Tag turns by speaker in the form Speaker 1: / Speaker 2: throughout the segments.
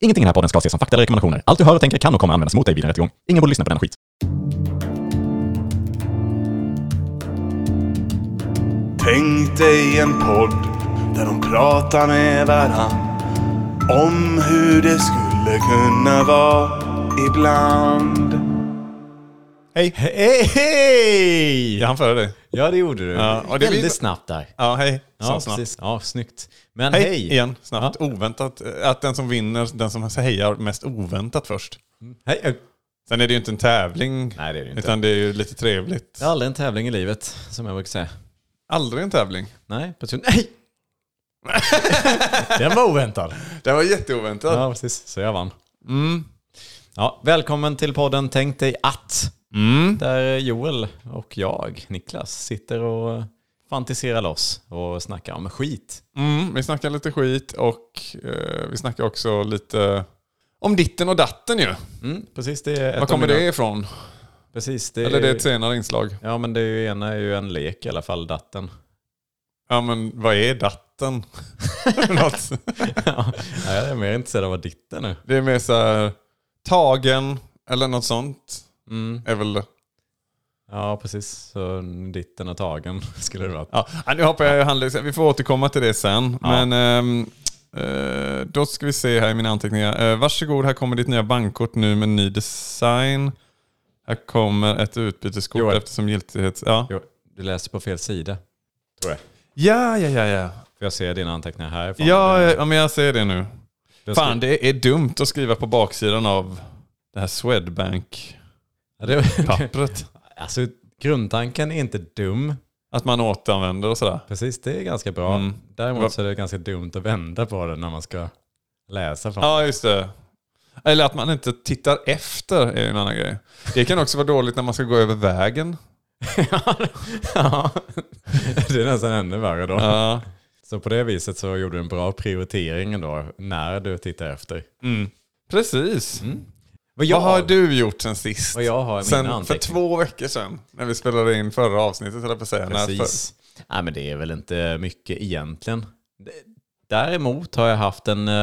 Speaker 1: Ingenting i den här podden ska ses som fakta eller rekommendationer. Allt du hör och tänker kan och kommer användas mot dig vid en rättegång. Ingen borde lyssna på den skit.
Speaker 2: Tänk dig en podd där de pratar med varann om hur det skulle kunna vara ibland.
Speaker 3: Hej!
Speaker 4: Hej!
Speaker 3: Jag hann före dig.
Speaker 4: Ja, det gjorde du.
Speaker 3: Ja, och det
Speaker 4: Väldigt
Speaker 3: blir-
Speaker 4: snabbt där.
Speaker 3: Ja, hej. Så
Speaker 4: Ja,
Speaker 3: snabbt.
Speaker 4: precis. Ja, snyggt. Men
Speaker 3: Hej,
Speaker 4: hej!
Speaker 3: igen, snabbt. Oväntat. eh, Att den som vinner, den som hejar mest oväntat först.
Speaker 4: Mm. Hej. Jag
Speaker 3: Sen är det ju inte en tävling.
Speaker 4: Nej, det är det ju inte.
Speaker 3: Utan det är ju lite trevligt.
Speaker 4: har aldrig en tävling i livet, som jag brukar säga.
Speaker 3: Aldrig en tävling.
Speaker 4: Nej, på tur- Nej! Den var oväntad.
Speaker 3: Det var jätteoväntat.
Speaker 4: Ja, precis. Så jag vann. Mm. Ja, välkommen till podden Tänk dig att.
Speaker 3: Mm.
Speaker 4: Där Joel och jag, Niklas, sitter och fantiserar loss och snackar om skit.
Speaker 3: Mm, vi snackar lite skit och eh, vi snackar också lite om ditten och datten ju.
Speaker 4: Mm, precis, det är ett
Speaker 3: Var
Speaker 4: av
Speaker 3: kommer
Speaker 4: mina-
Speaker 3: det ifrån?
Speaker 4: Precis, det
Speaker 3: Eller det är ett senare inslag.
Speaker 4: Ja, men det är ju, ena är ju en lek i alla fall, datten.
Speaker 3: Ja men vad är datten? Något.
Speaker 4: ja, jag är mer intresserad av vad ditt är nu.
Speaker 3: Det är mer så här, tagen eller något sånt.
Speaker 4: Mm.
Speaker 3: Är väl,
Speaker 4: Ja, precis. Så ditten är tagen skulle det vara.
Speaker 3: ja, nu hoppar jag i handled- Vi får återkomma till det sen.
Speaker 4: Ja.
Speaker 3: Men ehm, eh, då ska vi se här i mina anteckningar. Eh, varsågod, här kommer ditt nya bankkort nu med ny design. Här kommer ett utbyteskort
Speaker 4: Joel.
Speaker 3: eftersom giltighets... Ja.
Speaker 4: Jo, du läste på fel sida. Tror jag.
Speaker 3: ja, ja, ja, ja.
Speaker 4: För jag ser dina anteckningar härifrån.
Speaker 3: Ja, ja, men jag ser det nu.
Speaker 4: Det-
Speaker 3: Fan, det är dumt att skriva på baksidan av det här Swedbank-pappret.
Speaker 4: Ja, det- alltså, grundtanken är inte dum.
Speaker 3: Att man återanvänder och sådär.
Speaker 4: Precis, det är ganska bra.
Speaker 3: Mm.
Speaker 4: Däremot
Speaker 3: Vad-
Speaker 4: så är det ganska dumt att vända på det när man ska läsa från
Speaker 3: Ja, just det. Eller att man inte tittar efter är en annan grej. Det kan också vara dåligt när man ska gå över vägen.
Speaker 4: Ja, det är nästan ännu värre då.
Speaker 3: Ja.
Speaker 4: Så på det viset så gjorde du en bra prioritering då när du tittar efter.
Speaker 3: Precis.
Speaker 4: Vad
Speaker 3: Vad har du gjort sen sist?
Speaker 4: Mm. Vad jag har i mina
Speaker 3: sen, För
Speaker 4: anteckningar.
Speaker 3: två veckor sedan, när vi spelade in förra avsnittet, höll jag på att säga. När för-
Speaker 4: Precis. Nej, men det är väl inte mycket egentligen. D- Däremot har jag haft en eh,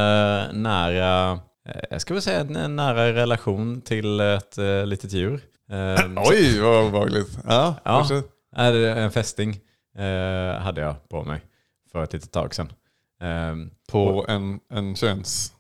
Speaker 4: nära, eh, jag ska väl säga en, en nära relation till ett eh, litet djur. Eh,
Speaker 3: Oj, vad obehagligt. Ja,
Speaker 4: Ja,
Speaker 3: fortsätt.
Speaker 4: nej, det är en fästing eh, hade jag på mig för ett litet tag sedan. Ehm,
Speaker 3: På en, en köns...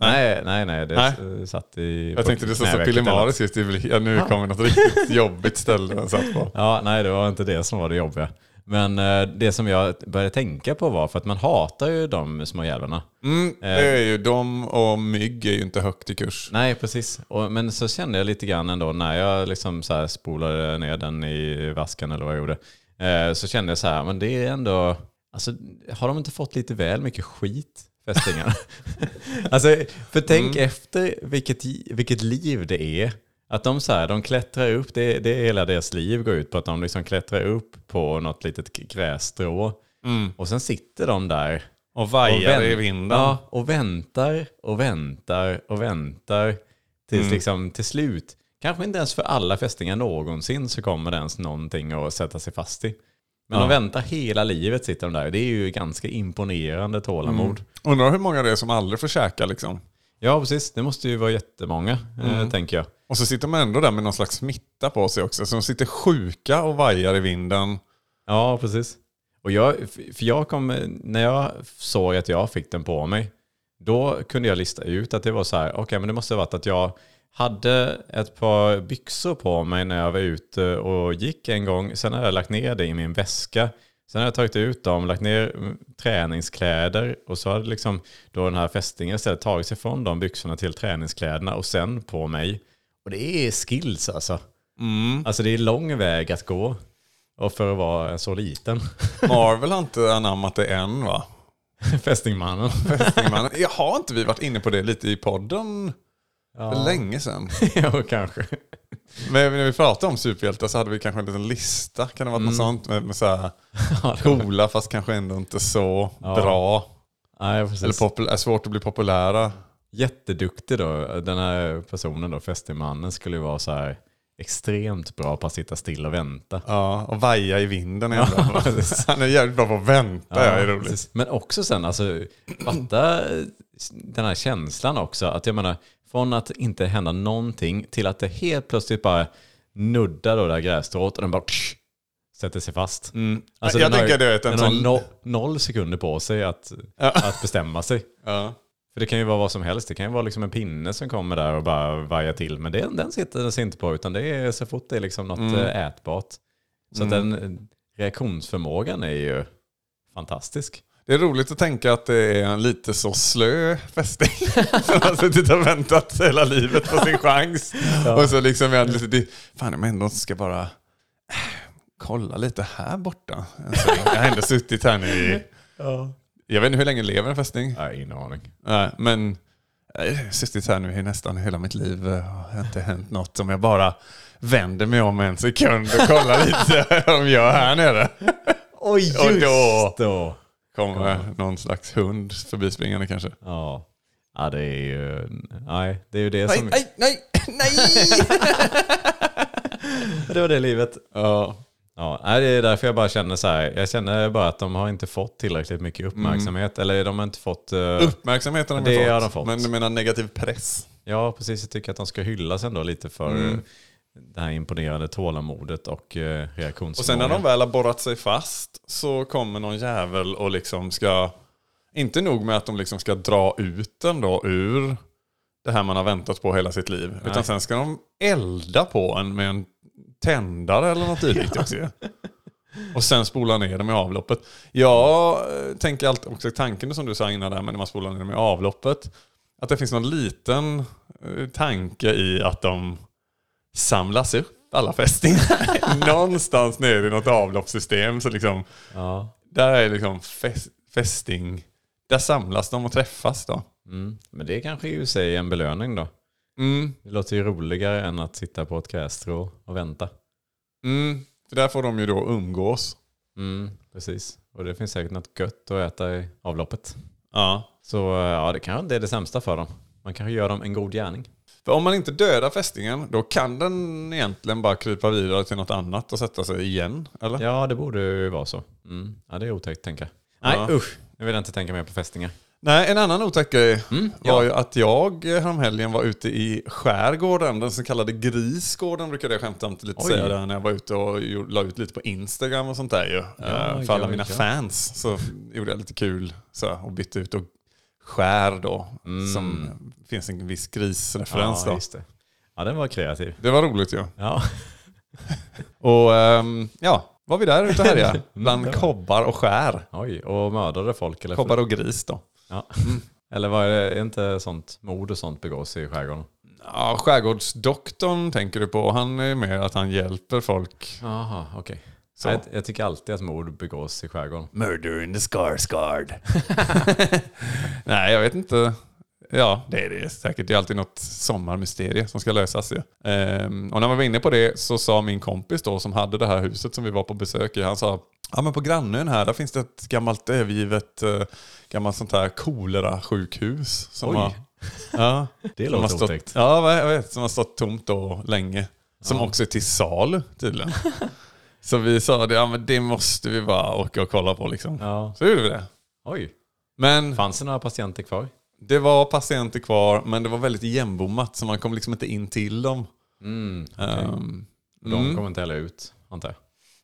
Speaker 4: nej, nej, nej, det
Speaker 3: Nej.
Speaker 4: s- satt i...
Speaker 3: Jag tänkte det stod så
Speaker 4: knävecket eller något.
Speaker 3: pillemariskt just i blick- ja, nu kommer något riktigt jobbigt ställe den satt på.
Speaker 4: Ja, nej, det var inte det som var det jobbiga. Men eh, det som jag började tänka på var, för att man hatar ju de små jävlarna.
Speaker 3: Mm, det är ju de och mygg är ju inte högt i kurs.
Speaker 4: Eh. Nej, precis. Och, men så kände jag lite grann ändå när jag liksom så här spolade ner den i vasken eller vad jag gjorde. Eh, så kände jag så här, men det är ändå... Alltså, har de inte fått lite väl mycket skit, fästingarna? alltså, för tänk
Speaker 3: Mm.
Speaker 4: efter vilket, vilket liv det är. Att de, så här, de klättrar upp, det, det är hela deras liv går ut på att de liksom klättrar upp på något litet k- grässtrå. Och sen sitter de där
Speaker 3: Mm. Och
Speaker 4: vänt-
Speaker 3: i vinden.
Speaker 4: Ja, och väntar och väntar och väntar tills liksom till slut. Kanske inte ens för alla fästingar någonsin så kommer det ens någonting att sätta sig fast i. Men de väntar hela livet sitter de där. Det är ju ganska imponerande tålamod.
Speaker 3: Undrar hur många det är som aldrig får käka liksom.
Speaker 4: Ja, precis. Det måste ju vara jättemånga, eh, tänker jag.
Speaker 3: Och så sitter man ändå där med någon slags smitta på sig också. Så de sitter sjuka och vajar i vinden.
Speaker 4: Ja, precis. Och jag, för jag kom, när jag såg att jag fick den på mig, då kunde jag lista ut att det var så här, okej men det måste ha varit att jag hade ett par byxor på mig när jag var ute och gick en gång. Sen har jag lagt ner det i min väska. Sen har jag tagit ut dem, lagt ner mm, träningskläder och så har det liksom då den här fästingen istället tagit sig från de byxorna till träningskläderna och sen på mig. Och det är skills alltså. Alltså det är lång väg att gå. Och för att vara så liten.
Speaker 3: Marvel har inte anammat det än va?
Speaker 4: Fästingmannen.
Speaker 3: Fästingmannen. Jag har inte vi varit inne på det lite i podden för länge sedan?
Speaker 4: ja, kanske.
Speaker 3: Men när vi pratade om superhjältar så hade vi kanske en liten lista. Kan det ha varit något sånt med, med så här coola fast kanske ändå inte så bra.
Speaker 4: Nej, precis.
Speaker 3: Eller popul- är svårt att bli populära.
Speaker 4: Jätteduktig då. Den här personen då, fästingmannen, skulle ju vara så här. extremt bra på att sitta still och vänta.
Speaker 3: Ja, och vaja i vinden är jävla- Han är jävligt bra på att vänta, ja, det är roligt.
Speaker 4: precis. Men också sen, alltså, fatta den här känslan också. Att jag menar, från att inte hända någonting till att det helt plötsligt bara nuddar då det här grässtrået och den bara psh, sätter sig fast. Alltså,
Speaker 3: Mm. jag
Speaker 4: den har ju-
Speaker 3: tänker du vet en
Speaker 4: den har
Speaker 3: sån...
Speaker 4: no, noll sekunder på sig att, att bestämma sig.
Speaker 3: Ja.
Speaker 4: För det kan ju vara vad som helst. Det kan ju vara liksom en pinne som kommer där och bara vajar till. Men den, den sitter den sig inte på, utan det är så fort det är liksom något eh, ätbart. Så att den eh, reaktionsförmågan är ju fantastisk.
Speaker 3: Det är roligt att tänka att det är en lite så slö fästing. Som har suttit och väntat hela livet på sin chans. Och så liksom är han lite... det- Fan, men ändå ska bara... äh, Kolla lite här borta. Alltså, jag har ändå suttit här nu i... Jag vet inte hur länge lever en fästing.
Speaker 4: Nej, ingen aning.
Speaker 3: Nej, men äh, jag har suttit här nu i nästan hela mitt liv. eh, och Det har inte hänt något om jag bara vänder mig om en sekund och kollar lite om jag är här nere.
Speaker 4: Och just
Speaker 3: Och då
Speaker 4: då!
Speaker 3: kommer någon slags hund förbispringande kanske.
Speaker 4: Ja. ja, det är ju... Nej, det är ju det som...
Speaker 3: nej, nej!
Speaker 4: Det var det livet.
Speaker 3: Ja,
Speaker 4: Ja, nej, det är därför jag bara känner så här. Jag känner bara att de har inte fått tillräckligt mycket uppmärksamhet. Eller de har inte fått... eh,
Speaker 3: uppmärksamheten har
Speaker 4: Det
Speaker 3: de
Speaker 4: har
Speaker 3: fått,
Speaker 4: de fått.
Speaker 3: Men du menar negativ press?
Speaker 4: Ja, precis. Jag tycker att de ska hyllas ändå lite för
Speaker 3: Mm.
Speaker 4: eh, det här imponerande tålamodet och eh, reaktionsförmågan.
Speaker 3: Och sen när de väl har borrat sig fast så kommer någon jävel och liksom ska... Inte nog med att de liksom ska dra ut den då ur det här man har väntat på hela sitt liv. Utan sen ska de elda på en med en tändare eller något dylikt också ju. Och sen spola ner dem i avloppet. Jag eh, tänker alltid också tanken som du sa innan där, men när man spolar ner dem i avloppet. Att det finns någon liten eh, tanke i att de samlas upp, alla fästingar. Någonstans nere i något avloppssystem. Så liksom,
Speaker 4: Ja,
Speaker 3: där är liksom fäs- fästing, där samlas de och träffas då.
Speaker 4: mm. Men det är kanske i sig en belöning då.
Speaker 3: Mm,
Speaker 4: Det låter ju roligare än att sitta på ett grässtrå och vänta.
Speaker 3: mm. För där får de ju då umgås.
Speaker 4: Mm, precis. Och det finns säkert något gött att äta i avloppet.
Speaker 3: Ja.
Speaker 4: Så eh, ja, det kanske inte är det sämsta för dem. Man kanske gör dem en god gärning.
Speaker 3: För om man inte dödar fästingen, då kan den egentligen bara krypa vidare till något annat och sätta sig igen. Eller?
Speaker 4: Ja, det borde ju vara så. Mm. Ja, det är otäckt tänka. Nej,
Speaker 3: Ja.
Speaker 4: usch. Nu vill jag inte tänka mer på fästingar.
Speaker 3: Nej, en annan otäck grej var
Speaker 4: Mm, ja.
Speaker 3: ju att jag eh, häromhelgen var ute i skärgården, den så kallade Grisgården brukade jag skämtsamt lite
Speaker 4: Oj.
Speaker 3: säga där när jag var ute och gjorde- la ut lite på Instagram och sånt där ju. Eh, för
Speaker 4: ja,
Speaker 3: alla mina
Speaker 4: ja.
Speaker 3: fans så gjorde jag lite kul så här, och bytte ut och skär då, som finns en viss grisreferens
Speaker 4: Mm. ja,
Speaker 3: då.
Speaker 4: just det. Ja, den var kreativ.
Speaker 3: Det var roligt ju.
Speaker 4: Ja.
Speaker 3: Och ehm, ja, var vi där ute här ja, bland kobbar och skär.
Speaker 4: Oj, och mördade folk eller?
Speaker 3: Kobbar och gris då.
Speaker 4: Ja. Eller vad är det, är inte sånt mord och sånt begås i skärgården?
Speaker 3: Ja, skärgårdsdoktorn tänker du på. Han är mer att han hjälper folk.
Speaker 4: Jaha, okej. Jag, jag tycker alltid att mord begås i skärgården.
Speaker 2: Murder in the Skarsgård.
Speaker 3: Nej, jag vet inte. Ja, det är det säkert. Det är alltid något sommarmysterie som ska lösas. ju. Ehm, och när man var inne på det så sa min kompis då som hade det här huset som vi var på besök i, han sa Ja men på grannön här, där finns det ett gammalt övergivet, eh, gammalt sånt här kolera-sjukhus. Som
Speaker 4: Oj.
Speaker 3: har, ja,
Speaker 4: Det
Speaker 3: som har
Speaker 4: låter
Speaker 3: stått,
Speaker 4: otäckt.
Speaker 3: Ja, jag vet. Som har stått tomt då länge. Som också är till salu tydligen. så vi sa det, ja men det måste vi bara åka och kolla på liksom.
Speaker 4: Ja.
Speaker 3: Så gjorde vi det.
Speaker 4: Oj,
Speaker 3: Men
Speaker 4: fanns det några patienter kvar?
Speaker 3: det var patienter kvar, men det var väldigt igenbommat så man kom liksom inte in till dem.
Speaker 4: Mm.
Speaker 3: Ehm,
Speaker 4: De kommer inte heller ut, antar jag.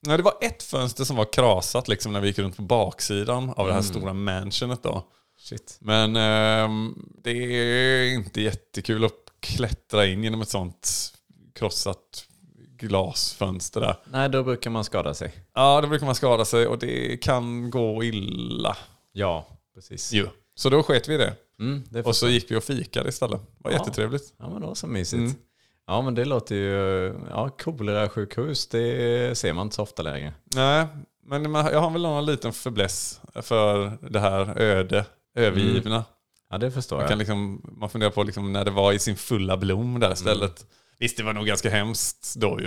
Speaker 3: nej, det var ett fönster som var krasat liksom när vi gick runt på baksidan av det här
Speaker 4: Mm.
Speaker 3: stora mansionet då.
Speaker 4: Shit.
Speaker 3: Men ehm, det är inte jättekul att klättra in genom ett sånt krossat glasfönster där.
Speaker 4: Nej, då brukar man skada sig.
Speaker 3: Ja, då brukar man skada sig och det kan gå illa.
Speaker 4: Ja, precis.
Speaker 3: Jo. Så då sket vi i det.
Speaker 4: Mm, det
Speaker 3: Och
Speaker 4: och
Speaker 3: så gick vi och fikade istället. Det var
Speaker 4: Ja.
Speaker 3: jättetrevligt.
Speaker 4: Ja, men det var så mysigt. Ja, men det låter ju... Ja, kolera-sjukhus, det ser man inte så ofta längre.
Speaker 3: Nej, men man- jag har väl någon liten fäbless för det här öde, övergivna.
Speaker 4: Mm. Ja, det förstår
Speaker 3: Man,
Speaker 4: jag.
Speaker 3: kan liksom, man funderar på liksom när det var i sin fulla blom där stället. Visst, det var nog ganska hemskt då ju.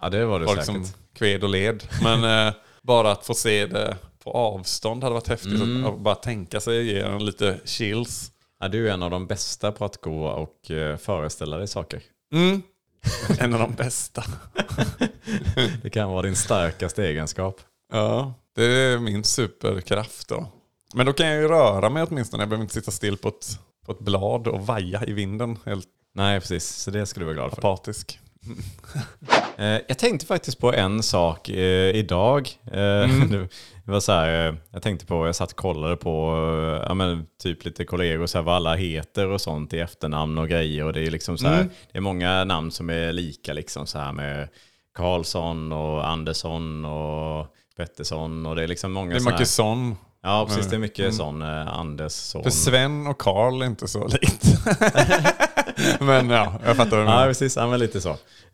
Speaker 4: Ja, Mm. det var det
Speaker 3: Folk som
Speaker 4: säkert.
Speaker 3: kved och led. Men eh, bara att få se det på avstånd hade varit häftigt.
Speaker 4: Mm.
Speaker 3: Att, att bara tänka sig ge en lite chills.
Speaker 4: Ja, du är en av de bästa på att gå och eh, föreställa dig saker.
Speaker 3: Mm. En av de bästa.
Speaker 4: Det kan vara din starkaste egenskap.
Speaker 3: Ja, det är min superkraft då. Men då kan jag ju röra mig åtminstone. Jag behöver inte sitta still på ett, på ett blad och vaja i vinden. Helt
Speaker 4: Nej, precis. Så det ska du vara glad för.
Speaker 3: apatisk.
Speaker 4: Eh, jag tänkte faktiskt på en sak eh, idag. Eh,
Speaker 3: Mm.
Speaker 4: nu- det var så här, eh, jag tänkte på, jag satt och kollade på eh, ja, men, typ lite kollegor, så här, vad alla heter och sånt i efternamn och grejer. Och det, är liksom så här,
Speaker 3: Mm.
Speaker 4: det är många namn som är lika, liksom så här med Karlsson och Andersson och Pettersson. Och det är liksom många
Speaker 3: Det är Mm.
Speaker 4: såna här,
Speaker 3: mycket sån.
Speaker 4: Ja, precis. Det är mycket sån eh, Andersson.
Speaker 3: För Sven och Karl är inte så likt. Men ja, jag fattar vad du
Speaker 4: Ja,
Speaker 3: menar.
Speaker 4: precis. Ja, men lite så.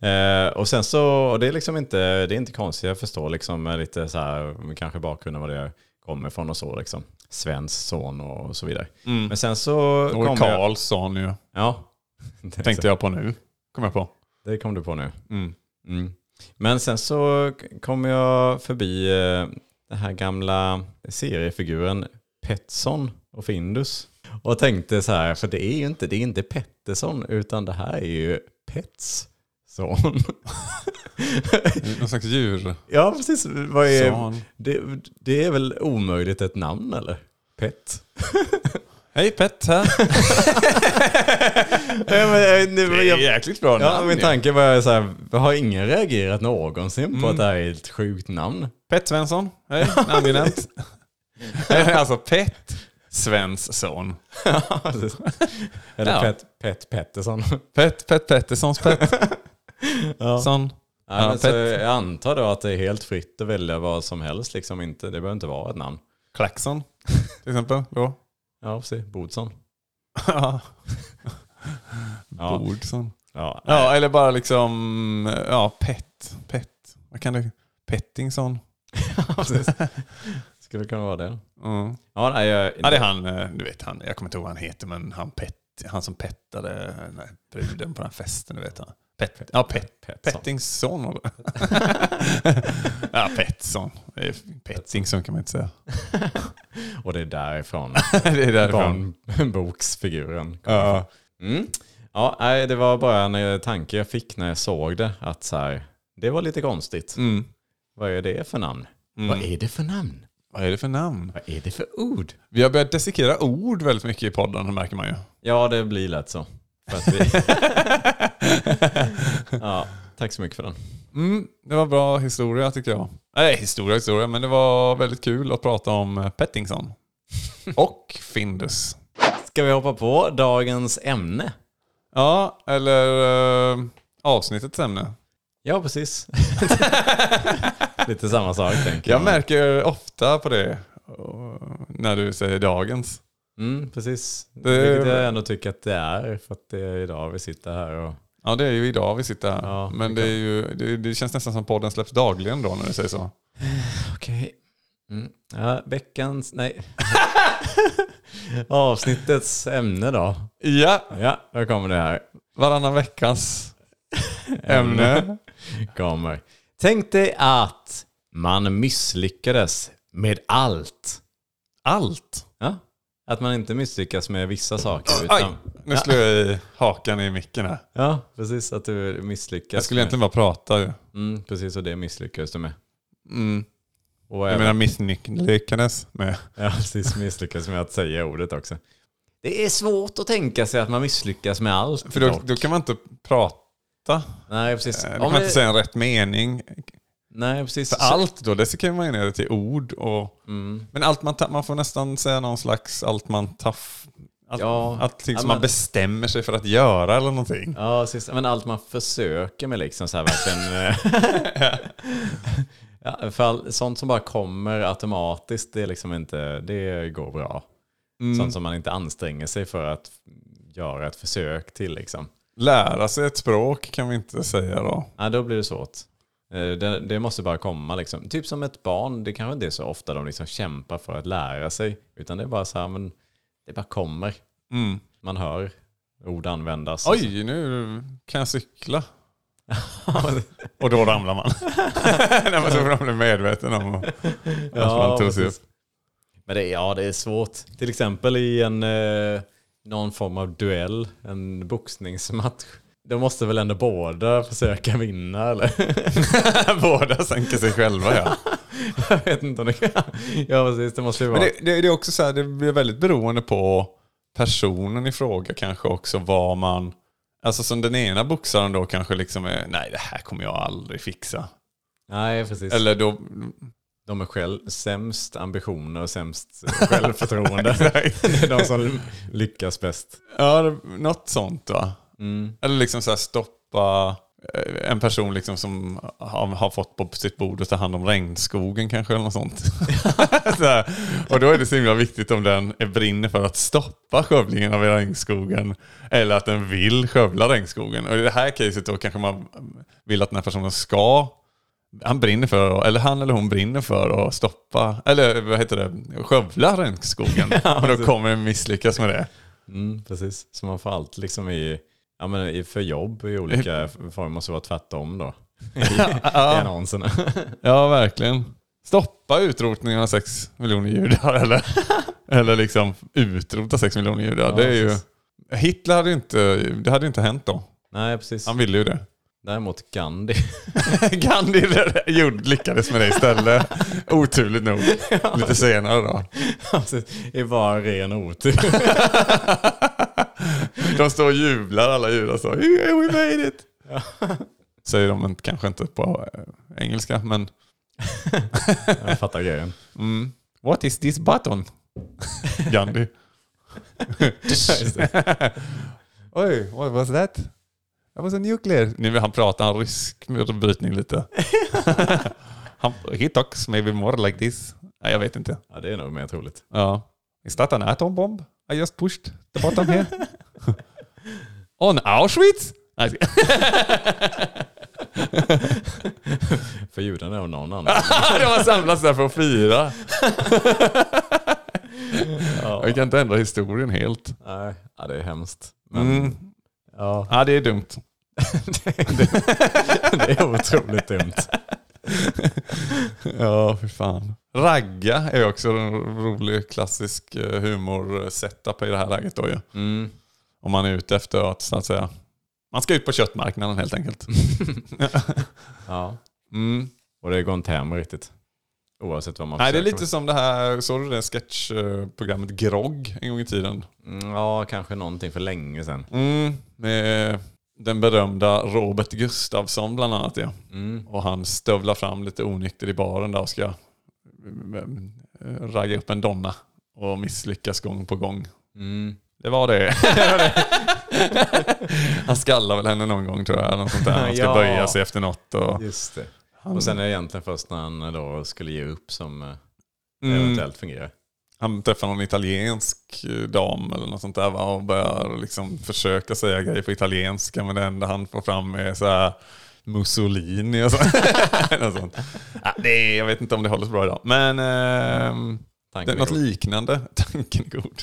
Speaker 4: Eh, och sen så, och det är liksom inte, det är inte konstigt, jag förstår liksom eh, lite så här, men kanske bakgrunden var det kommer ifrån och så liksom. Svensk son och så vidare.
Speaker 3: Mm.
Speaker 4: Men sen så
Speaker 3: Och
Speaker 4: kom jag,
Speaker 3: Karlsson ju,
Speaker 4: ja, det,
Speaker 3: tänkte jag på nu. Kom jag på.
Speaker 4: det kom du på nu.
Speaker 3: Mm.
Speaker 4: Mm. Men sen så kom jag förbi eh, den här gamla seriefiguren Petson och Findus. Och tänkte så här, för det är ju inte, det är inte Pettersson utan det här är ju Petsson.
Speaker 3: Någon slags djur.
Speaker 4: Ja, precis. Vad är,
Speaker 3: Son.
Speaker 4: det, det är väl omöjligt ett namn eller? Pet?
Speaker 3: Hej Pet här.
Speaker 4: Nej, men, jag, nu, jag,
Speaker 3: jäkligt bra
Speaker 4: ja, min
Speaker 3: ju.
Speaker 4: tanke var så här, har ingen reagerat någonsin på att det här är ett sjukt namn?
Speaker 3: Pet Svensson. Hej, namngenämnt. alltså Pet Svensson.
Speaker 4: Eller
Speaker 3: Ja.
Speaker 4: Pet, Pet Pettersson.
Speaker 3: Pet, Pet Petterssons Pet. Son.
Speaker 4: Ja, men så
Speaker 3: Pet.
Speaker 4: jag antar då att det är helt fritt att välja vad som helst. Liksom inte, det behöver inte vara ett namn.
Speaker 3: Klaxon, till exempel. Då.
Speaker 4: Ja, precis. Bodsson. Ja.
Speaker 3: Bordsson.
Speaker 4: Ja.
Speaker 3: Ja, eller bara liksom, ja, Pet. Pet. Vad kan det? Pettingsson.
Speaker 4: precis. Skulle kunna vara det.
Speaker 3: Mm.
Speaker 4: Ja, nej, jag,
Speaker 3: Ja, det är han, eh, du vet, han, jag kommer inte ihåg vad han heter, men han, pet, han som pettade den här bruden på den här festen, du vet han. Pet, ja, pet,
Speaker 4: Petson.
Speaker 3: Pettingsson. eller? ja, Petsson. Det är Pettingsson kan man inte säga.
Speaker 4: Och det är därifrån
Speaker 3: det är därifrån.
Speaker 4: barnboksfiguren
Speaker 3: Ja.
Speaker 4: Mm. Ja, nej, det var bara en eh, tanke jag fick när jag såg det. Att så här, det var lite konstigt.
Speaker 3: Mm.
Speaker 4: Vad är det för namn? Mm. Vad är det för namn?
Speaker 3: Vad är det för namn?
Speaker 4: Vad är det för ord?
Speaker 3: Vi har börjat dissekera ord väldigt mycket i podden, det märker man ju.
Speaker 4: Ja, det blir lätt så. För att vi... ja, tack så mycket för den.
Speaker 3: Mm, det var bra historia tycker jag. Nej, historia historia, men det var väldigt kul att prata om eh, Pettingsson. Och Findus.
Speaker 4: Ska vi hoppa på dagens ämne?
Speaker 3: Ja, eller eh, avsnittets ämne.
Speaker 4: Ja, precis. lite samma sak tänker
Speaker 3: Jag märker ofta på det eh, när du säger dagens.
Speaker 4: Mm, precis.
Speaker 3: Det-
Speaker 4: Vilket jag ändå tycker att det är. För att det är idag vi sitter här och...
Speaker 3: Ja, det är ju idag vi sitter här.
Speaker 4: Ja,
Speaker 3: men det, är ju, det, det känns nästan som podden släpps dagligen då när du säger så.
Speaker 4: Okej. Mm. Ja, veckans... Nej. Avsnittets ämne då.
Speaker 3: Ja,
Speaker 4: Ja, då kommer det här.
Speaker 3: varannan veckans ämne.
Speaker 4: Kommer. Tänk dig att man misslyckades med allt.
Speaker 3: Allt.
Speaker 4: Ja? Att man inte misslyckas med vissa saker.
Speaker 3: Aj,
Speaker 4: Utan,
Speaker 3: nu slår jag i hakan i micken här.
Speaker 4: ja, precis. Att du misslyckas.
Speaker 3: Jag skulle egentligen bara prata ju.
Speaker 4: med, mm, precis, och det misslyckades du med.
Speaker 3: Mm.
Speaker 4: Och
Speaker 3: Jag
Speaker 4: även,
Speaker 3: menar misslyckades med.
Speaker 4: ja, precis, misslyckas med att säga ordet också. Det är svårt att tänka sig att man misslyckas med allt.
Speaker 3: För då,
Speaker 4: dock.
Speaker 3: då kan man inte prata.
Speaker 4: Nej, precis.
Speaker 3: Eh, Då
Speaker 4: Om
Speaker 3: kan man
Speaker 4: det-
Speaker 3: inte säga en rätt mening.
Speaker 4: Nej, precis.
Speaker 3: För allt då, det kan man ju ner det till ord. Och, Men allt man, ta- man får nästan säga någon slags allt man taff... Allt,
Speaker 4: Ja.
Speaker 3: allting
Speaker 4: Ja,
Speaker 3: som
Speaker 4: men-
Speaker 3: man bestämmer sig för att göra eller någonting.
Speaker 4: Ja, sist, men allt man försöker med liksom så här verkligen. eh, ja, för all, sånt som bara kommer automatiskt, det är liksom inte, det går bra.
Speaker 3: Mm.
Speaker 4: Sånt som man inte anstränger sig för att göra ett försök till liksom.
Speaker 3: Lära sig ett språk kan vi inte säga då.
Speaker 4: Ja, då blir det svårt. Eh, Det, det måste bara komma liksom. Typ som ett barn, det kanske inte är så ofta de liksom kämpar för att lära sig. Utan det är bara så här, men det bara kommer.
Speaker 3: Mm.
Speaker 4: Man hör ord användas. och så.
Speaker 3: Oj, nu kan jag cykla. Och då ramlar man. När man så man blir medveten om och- att man tog sig upp.
Speaker 4: precis. Men det, är- ja, det är svårt. Till exempel i en, eh, någon form av duell, en boxningsmatch. De måste väl ändå båda försöka vinna eller?
Speaker 3: Båda sänker sig själva ja.
Speaker 4: Jag vet inte om det kan. Ja precis, det måste ju vara.
Speaker 3: Men det, det, det är också så här, det blir väldigt beroende på personen i fråga kanske också vad man... Alltså som den ena boxaren då kanske liksom är, nej det här kommer jag aldrig fixa.
Speaker 4: Nej precis.
Speaker 3: Eller då...
Speaker 4: De är själv sämst ambitioner och sämst självförtroende. det är de som lyckas bäst.
Speaker 3: Ja, det- något sånt va? Eller liksom så här stoppa eh, en person liksom som har, har fått på sitt bord att ta hand om regnskogen kanske eller något sånt. så här. Och då är det så himla viktigt om den är- brinner för att stoppa skövlingen av regnskogen eller att den vill skövla regnskogen. Och i det här caset då kanske man vill att den här personen ska han brinner för, eller han eller hon brinner för att stoppa, eller vad heter det, skövla regnskogen. och då kommer den misslyckas med det.
Speaker 4: Mm, precis. Så man får allt liksom i, ja, men i för jobb i olika former måste vara tvärtom då. I annonserna.
Speaker 3: Ja, verkligen. Stoppa utrotningen av sex miljoner judar eller, eller liksom utrota sex miljoner judar. det är ju,
Speaker 4: precis.
Speaker 3: Hitler hade ju inte, det hade ju inte hänt då.
Speaker 4: Nej, precis.
Speaker 3: Han ville ju det.
Speaker 4: Däremot Gandhi.
Speaker 3: Gandhi gjorde- lyckades med det istället. Oturligt nog. Lite senare då.
Speaker 4: Precis. är bara Alltså, ren otur.
Speaker 3: De står och jublar alla judar så. Yeah, we made it! Säger de inte- kanske inte på eh, engelska men.
Speaker 4: Jag fattar grejen.
Speaker 3: Mm. What is this button? Gandhi.
Speaker 4: Just det.
Speaker 3: Oj, what was that? That was a nuclear. Nu vill han prata han rysk med brytning lite. han, he talks maybe more like this. Nej, jag vet inte.
Speaker 4: Ja, det är nog mer troligt.
Speaker 3: Ja. Is that an atom bomb? I just pushed the bottom here. On Auschwitz? Nej, jag ska-
Speaker 4: För judarna och någon annan.
Speaker 3: De har samlats där för att fira. Vi kan inte ändra historien helt.
Speaker 4: Nej, ja, det är hemskt. Men
Speaker 3: Mm.
Speaker 4: ja,
Speaker 3: Ja, det är dumt.
Speaker 4: det är otroligt dumt.
Speaker 3: Ja, för fan. Ragga är också en rolig klassisk eh, humor-setup i det här läget då ju.
Speaker 4: Mm.
Speaker 3: Om man är ute efter att så att säga, man ska ut på köttmarknaden helt enkelt.
Speaker 4: Ja.
Speaker 3: Mm.
Speaker 4: Och det går inte hem riktigt. Oavsett vad man
Speaker 3: Nej, det är
Speaker 4: försöker
Speaker 3: lite som det här, såg du det sketchprogrammet Grogg en gång i tiden?
Speaker 4: med. Mm, Ja, kanske någonting för länge sedan.
Speaker 3: Mm. Med den berömda Robert Gustafsson bland annat ja.
Speaker 4: Mm.
Speaker 3: Och han stövlar fram lite onykter i baren där och ska mm, ragga upp en donna. Och misslyckas gång på gång.
Speaker 4: Mm.
Speaker 3: Det var det. han skallar väl henne någon gång tror jag. eller Något sånt där. Han ska
Speaker 4: Ja.
Speaker 3: böja sig efter något. Och,
Speaker 4: Just det. Och sen är det egentligen först när han eh, då skulle ge upp som eh, det
Speaker 3: mm,
Speaker 4: eventuellt fungerar.
Speaker 3: han träffar någon italiensk eh, dam eller något sånt där va? och börjar liksom försöka säga grejer på italienska men det enda han får fram är så här Mussolini och så. något sånt. Ja, det är, jag vet inte om det håller så bra idag. Men ehm,
Speaker 4: Tanken
Speaker 3: det, något
Speaker 4: är god.
Speaker 3: liknande. Tanken är god.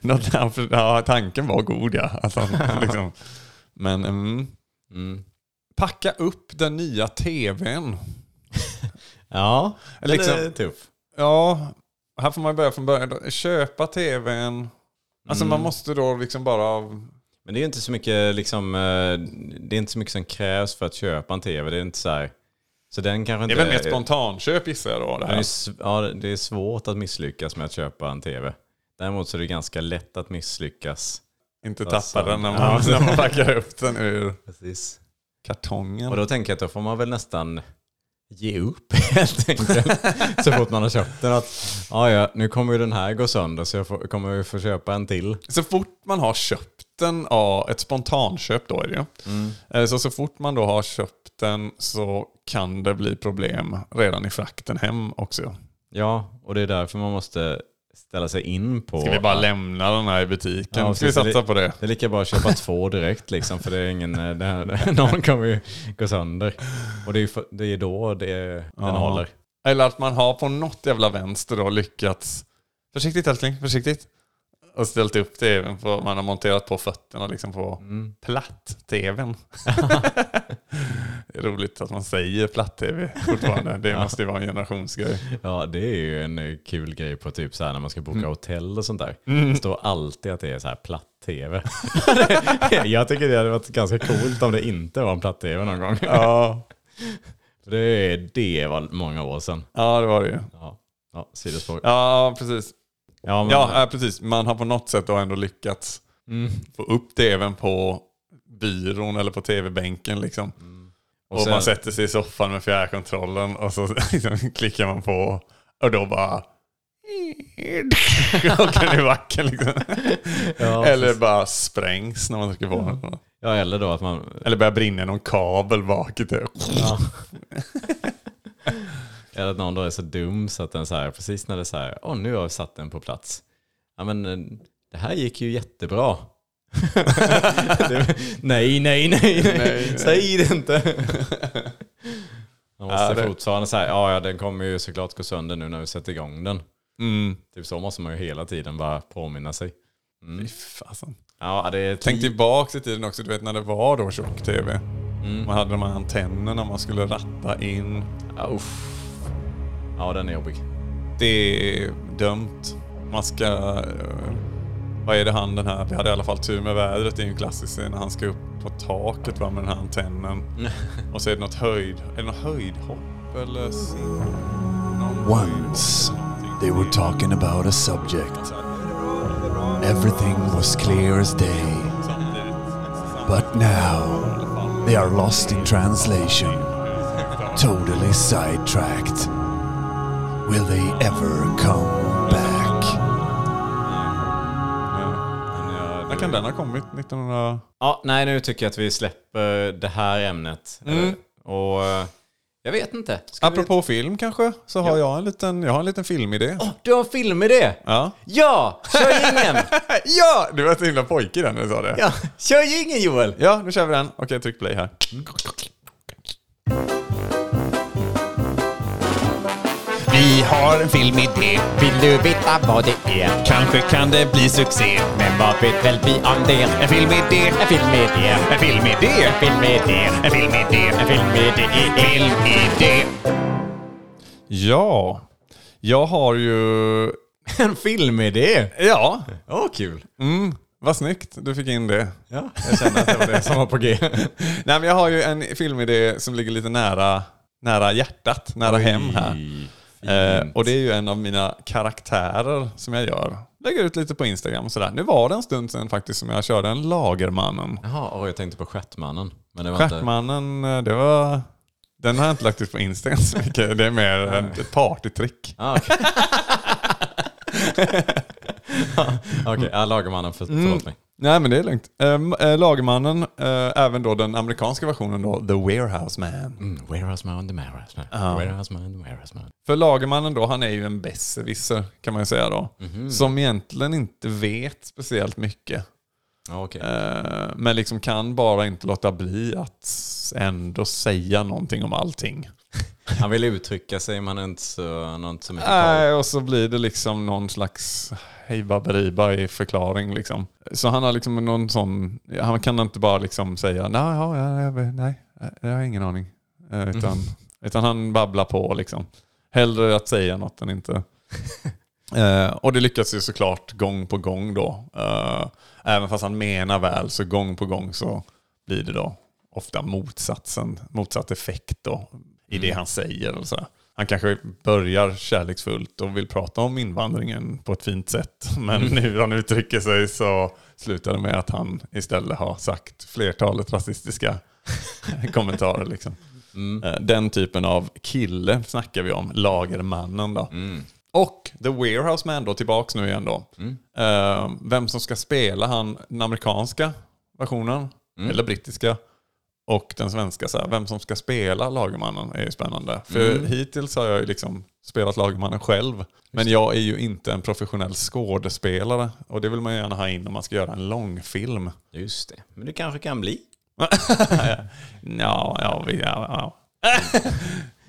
Speaker 3: något, han för- ja, tanken var god ja. Alltså, liksom. Men mm,
Speaker 4: Mm.
Speaker 3: Packa upp den nya tvn.
Speaker 4: Ja, den
Speaker 3: Liksom-
Speaker 4: är tuff.
Speaker 3: Ja, här får man börja från början. Köpa tvn. Alltså
Speaker 4: Mm.
Speaker 3: man måste då liksom bara...
Speaker 4: Men det är ju inte så mycket liksom, eh, det är inte så mycket som krävs för att köpa en tv. Det är inte så här. Så den kanske
Speaker 3: Det
Speaker 4: inte...
Speaker 3: är väl mer spontanköp gissar jag då. Det
Speaker 4: Den är
Speaker 3: här.
Speaker 4: ju sv- ja, det är svårt att misslyckas med att köpa en tv. Däremot så är det ganska lätt att misslyckas.
Speaker 3: Inte
Speaker 4: Alltså,
Speaker 3: tappa den när
Speaker 4: ja.
Speaker 3: man, när man packar upp den ur
Speaker 4: Precis.
Speaker 3: kartongen.
Speaker 4: Och då tänker jag att då får man väl nästan ge upp helt enkelt. så fort man har köpt den. Att, ja, ja, nu kommer ju den här gå sönder så jag får, kommer ju få köpa en till.
Speaker 3: Så fort man har köpt den, ja, ett spontanköp då är det ju.
Speaker 4: Mm.
Speaker 3: Eh, Så, så fort man då har köpt den så kan det bli problem redan i frakten hem också.
Speaker 4: Ja, och det är därför man måste ställa sig in på...
Speaker 3: Ska vi bara lämna den här i butiken?
Speaker 4: Ja,
Speaker 3: Ska vi
Speaker 4: precis.
Speaker 3: satsa på det?
Speaker 4: Det är lika bra att köpa två direkt liksom, för det är ingen, eh, det här, någon kommer ju gå sönder. Och det är, ju för, det är då det, den håller.
Speaker 3: Eller att man har på något jävla vänster då lyckats Försiktigt älskling, försiktigt. Och ställt upp tvn på, man har monterat på fötterna liksom på platt-tvn. det är roligt att man säger platt-tv fortfarande. Det måste ju vara en generationsgrej.
Speaker 4: Ja, det är ju en eh, kul grej på typ så här när man ska boka hotell och sånt där. Det står alltid att det är så här platt platt-tv. jag tycker det hade varit ganska coolt om det inte var en platt-tv någon gång.
Speaker 3: Ja,
Speaker 4: Det, det var många år sedan.
Speaker 3: ja det var det ju.
Speaker 4: Ja, ja sidospår.
Speaker 3: Ja, precis.
Speaker 4: Ja, men,
Speaker 3: Ja, ja, precis. Man har på något sätt då ändå lyckats
Speaker 4: Mm.
Speaker 3: få upp tvn på byrån eller på tv-bänken. Liksom. Och,
Speaker 4: Mm. sen-
Speaker 3: man sätter sig i soffan med fjärrkontrollen och så liksom, klickar man på och då bara... Klockan i backen liksom.
Speaker 4: ja, Mm.
Speaker 3: Eller bara sprängs när man trycker på den.
Speaker 4: ja, eller då att man...
Speaker 3: Eller börjar brinna i någon kabel bak i
Speaker 4: Mm.
Speaker 3: typ.
Speaker 4: Ja. eller att någon då är så dum så att den så här, precis när det är så här, åh nu har jag satt den på plats. Ja men eh, det här gick ju jättebra. det, nej, nej, nej, nej, säg det inte. Man måste
Speaker 3: Ja, det-
Speaker 4: fortfarande säga, ja, ja den kommer ju såklart gå sönder nu när vi sätter igång den. Typ så måste man ju hela tiden bara påminna sig.
Speaker 3: Fy fasen.
Speaker 4: Ja, det är ett
Speaker 3: Tänk tillbaka i tiden också, du vet när det var då tjock-tv.
Speaker 4: Mm.
Speaker 3: Man hade de här antennerna man skulle ratta in.
Speaker 4: typ- Ja, uff. ja den är jobbig.
Speaker 3: Det är dömt. Man ska... eh, Vad är det han den här... Vi hade i alla fall tur med vädret. Det är ju en klassisk scen när han ska upp på taket va, med den här antennen. Och så är det något höjd... Är det något höjdhopp eller... sim- någon
Speaker 2: Once
Speaker 3: höjdhopp?
Speaker 2: they were talking about a subject.
Speaker 3: Så här,
Speaker 2: Everything was clear as day.
Speaker 3: samtidigt, samtidigt,
Speaker 2: But now
Speaker 3: i alla fall.
Speaker 2: they are lost in translation. Totally sidetracked. Will they ever come back?
Speaker 3: När kan den ha kommit? 1900...
Speaker 4: Ja, nej, nu tycker jag att vi släpper det här ämnet.
Speaker 3: Mm.
Speaker 4: Och eh, jag vet inte. Ska
Speaker 3: Apropå film kanske, så har jag en liten, jag har en liten filmidé.
Speaker 4: Vi... Du har en film i det?
Speaker 3: Ja.
Speaker 4: Ja, kör ingen!
Speaker 3: ja! Du var så himla pojkig där när du sa det.
Speaker 4: ja, kör ingen Joel!
Speaker 3: Ja, nu kör vi den. Okej, tryck play här.
Speaker 5: Vi har en filmidé. Vill du veta vad det är? Kanske kan det bli succé. Men vad vet väl vi om det? En filmidé. En filmidé. En filmidé. En filmidé. En filmidé. En filmidé. En filmidé.
Speaker 3: Ja, jag har ju...
Speaker 4: En film i det?
Speaker 3: Ja,
Speaker 4: Åh, kul!
Speaker 3: mm, vad snyggt du fick in det.
Speaker 4: Ja.
Speaker 3: Jag kände att det var det som var på G. Nej, men jag har ju en filmidé som ligger lite nära, nära hjärtat, nära hem här. Eh, och det är ju en av mina karaktärer som jag gör. Lägger ut lite på Instagram och sådär. Nu var det en stund sedan faktiskt som jag körde en Lagermannen.
Speaker 4: Jaha, och jag tänkte på Stjärtmannen. Men det var inte...
Speaker 3: Stjärtmannen, eh, det var... Den har jag inte lagt ut på Instagram så mycket. Det är mer ett ett partytrick.
Speaker 4: Ah, Okej, okay. ja, Lagermannen, för,
Speaker 3: Mm.
Speaker 4: förlåt mig.
Speaker 3: Nej men det är lugnt. Ehm, eh, Lagermannen, eh, även då den amerikanska versionen då, The Warehouse Man.
Speaker 4: Mm, warehouse man, the warehouse man. Warehouse man, the warehouse man.
Speaker 3: För Lagermannen då, han är ju en besserwisser kan man ju säga då. Som egentligen inte vet speciellt mycket.
Speaker 4: Ja, Okej.
Speaker 3: Eh, men liksom kan bara inte låta bli att ändå säga någonting om allting.
Speaker 4: Han vill uttrycka sig, men han är inte så, han har inte så mycket koll.
Speaker 3: Nej, och så blir det liksom någon slags hejbaberiba i förklaring liksom. Så han har liksom någon sån, han kan inte bara liksom säga nej, ja, ja, jag vet- nej, jag har ingen aning. Eh, Utan, utan han babblar på liksom. Hellre att säga något än inte. Eh, och det lyckas ju såklart gång på gång då. Eh, även fast han menar väl så gång på gång så blir det då ofta motsatsen, motsatt effekt då i det han säger. Och sådär. Han kanske börjar kärleksfullt och vill prata om invandringen på ett fint sätt. Men nu hur han uttrycker sig så slutar det med att han istället har sagt flertalet rasistiska kommentarer. Liksom. Eh, Den typen av kille snackar vi om, lagermannen då. Och The Warehouse Man då, tillbaks nu igen då. Eh, vem som ska spela han, den amerikanska versionen, eller brittiska, och den svenska. Så här, vem som ska spela Lagermannen är ju spännande. För hittills har jag ju liksom spelat Lagermannen själv. Men jag är ju inte en professionell skådespelare. Och det vill man ju gärna ha in om man ska göra en långfilm.
Speaker 4: Just det. Men det kanske kan bli.
Speaker 3: Ja, ja, vi- ja. ja.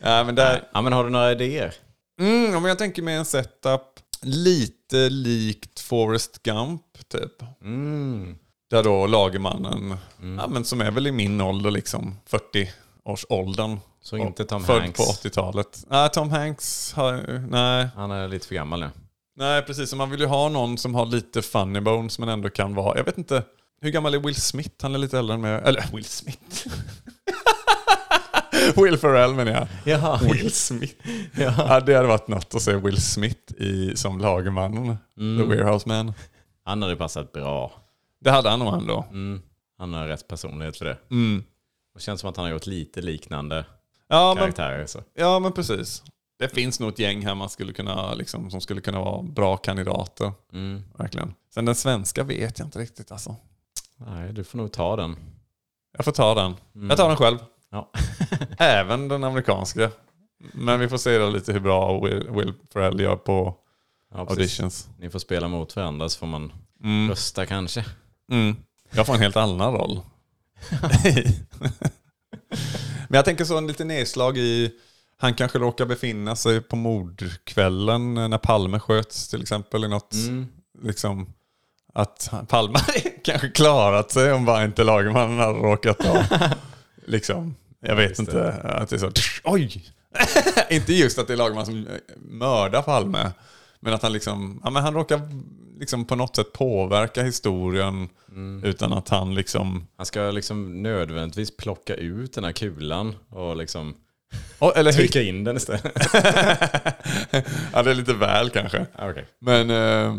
Speaker 3: Nej, men där,
Speaker 4: Ja, men har du några idéer?
Speaker 3: Mm, om jag tänker mig en setup lite likt Forrest Gump typ.
Speaker 4: Mm.
Speaker 3: Där då lagermannen, ja, men som är väl i min ålder liksom, 40-årsåldern.
Speaker 4: Så inte Tom
Speaker 3: Född
Speaker 4: Hanks.
Speaker 3: på 80-talet. Nej, Tom Hanks har, nej.
Speaker 4: Han är lite för gammal nu.
Speaker 3: Nej, precis. Så Man vill ju ha någon som har lite funny bones men ändå kan vara... Jag vet inte. Hur gammal är Will Smith? Han är lite äldre än mig. Eller Will Smith? Will Ferrell menar jag.
Speaker 4: Jaha.
Speaker 3: Will Smith. Ja, det hade varit något att se Will Smith i, som lagerman. The Warehouse Man.
Speaker 4: Han hade passat
Speaker 3: Mm.
Speaker 4: bra. Mm.
Speaker 3: Det hade han nog ändå. Mm.
Speaker 4: Han har rätt personlighet för det. Det känns som att han har gjort lite liknande
Speaker 3: Ja, men,
Speaker 4: karaktärer. Så.
Speaker 3: ja, men precis. Det finns nog ett gäng här man skulle kunna, liksom, som skulle kunna vara bra kandidater. Verkligen. Sen den svenska vet jag inte riktigt alltså.
Speaker 4: Nej, du får nog ta den. Mm.
Speaker 3: Jag får ta den. Jag tar den själv.
Speaker 4: Ja.
Speaker 3: Även den amerikanska. Men vi får se då lite hur bra Will, Will Ferrell gör på
Speaker 4: Ja, precis.
Speaker 3: auditions.
Speaker 4: Ni får spela mot varandra så får man rösta kanske.
Speaker 3: Mm. Jag får en helt annan roll. Men jag tänker så en liten nedslag i... Han kanske råkar befinna sig på mordkvällen när Palme sköts till exempel. I något, liksom, att han- Palme hade kanske klarat sig om bara inte lagmannen hade råkat ha... liksom, jag vet inte. Att det är så, oj! inte just att det är lagman som mördar Palme. Men att han liksom, ja, men han råkar liksom på något sätt påverka historien utan att han liksom...
Speaker 4: Han ska liksom nödvändigtvis plocka ut den här kulan och liksom
Speaker 3: Oh, eller hur-
Speaker 4: trycka in den istället.
Speaker 3: ja, det är lite väl kanske.
Speaker 4: Ah, Okej.
Speaker 3: Men eh,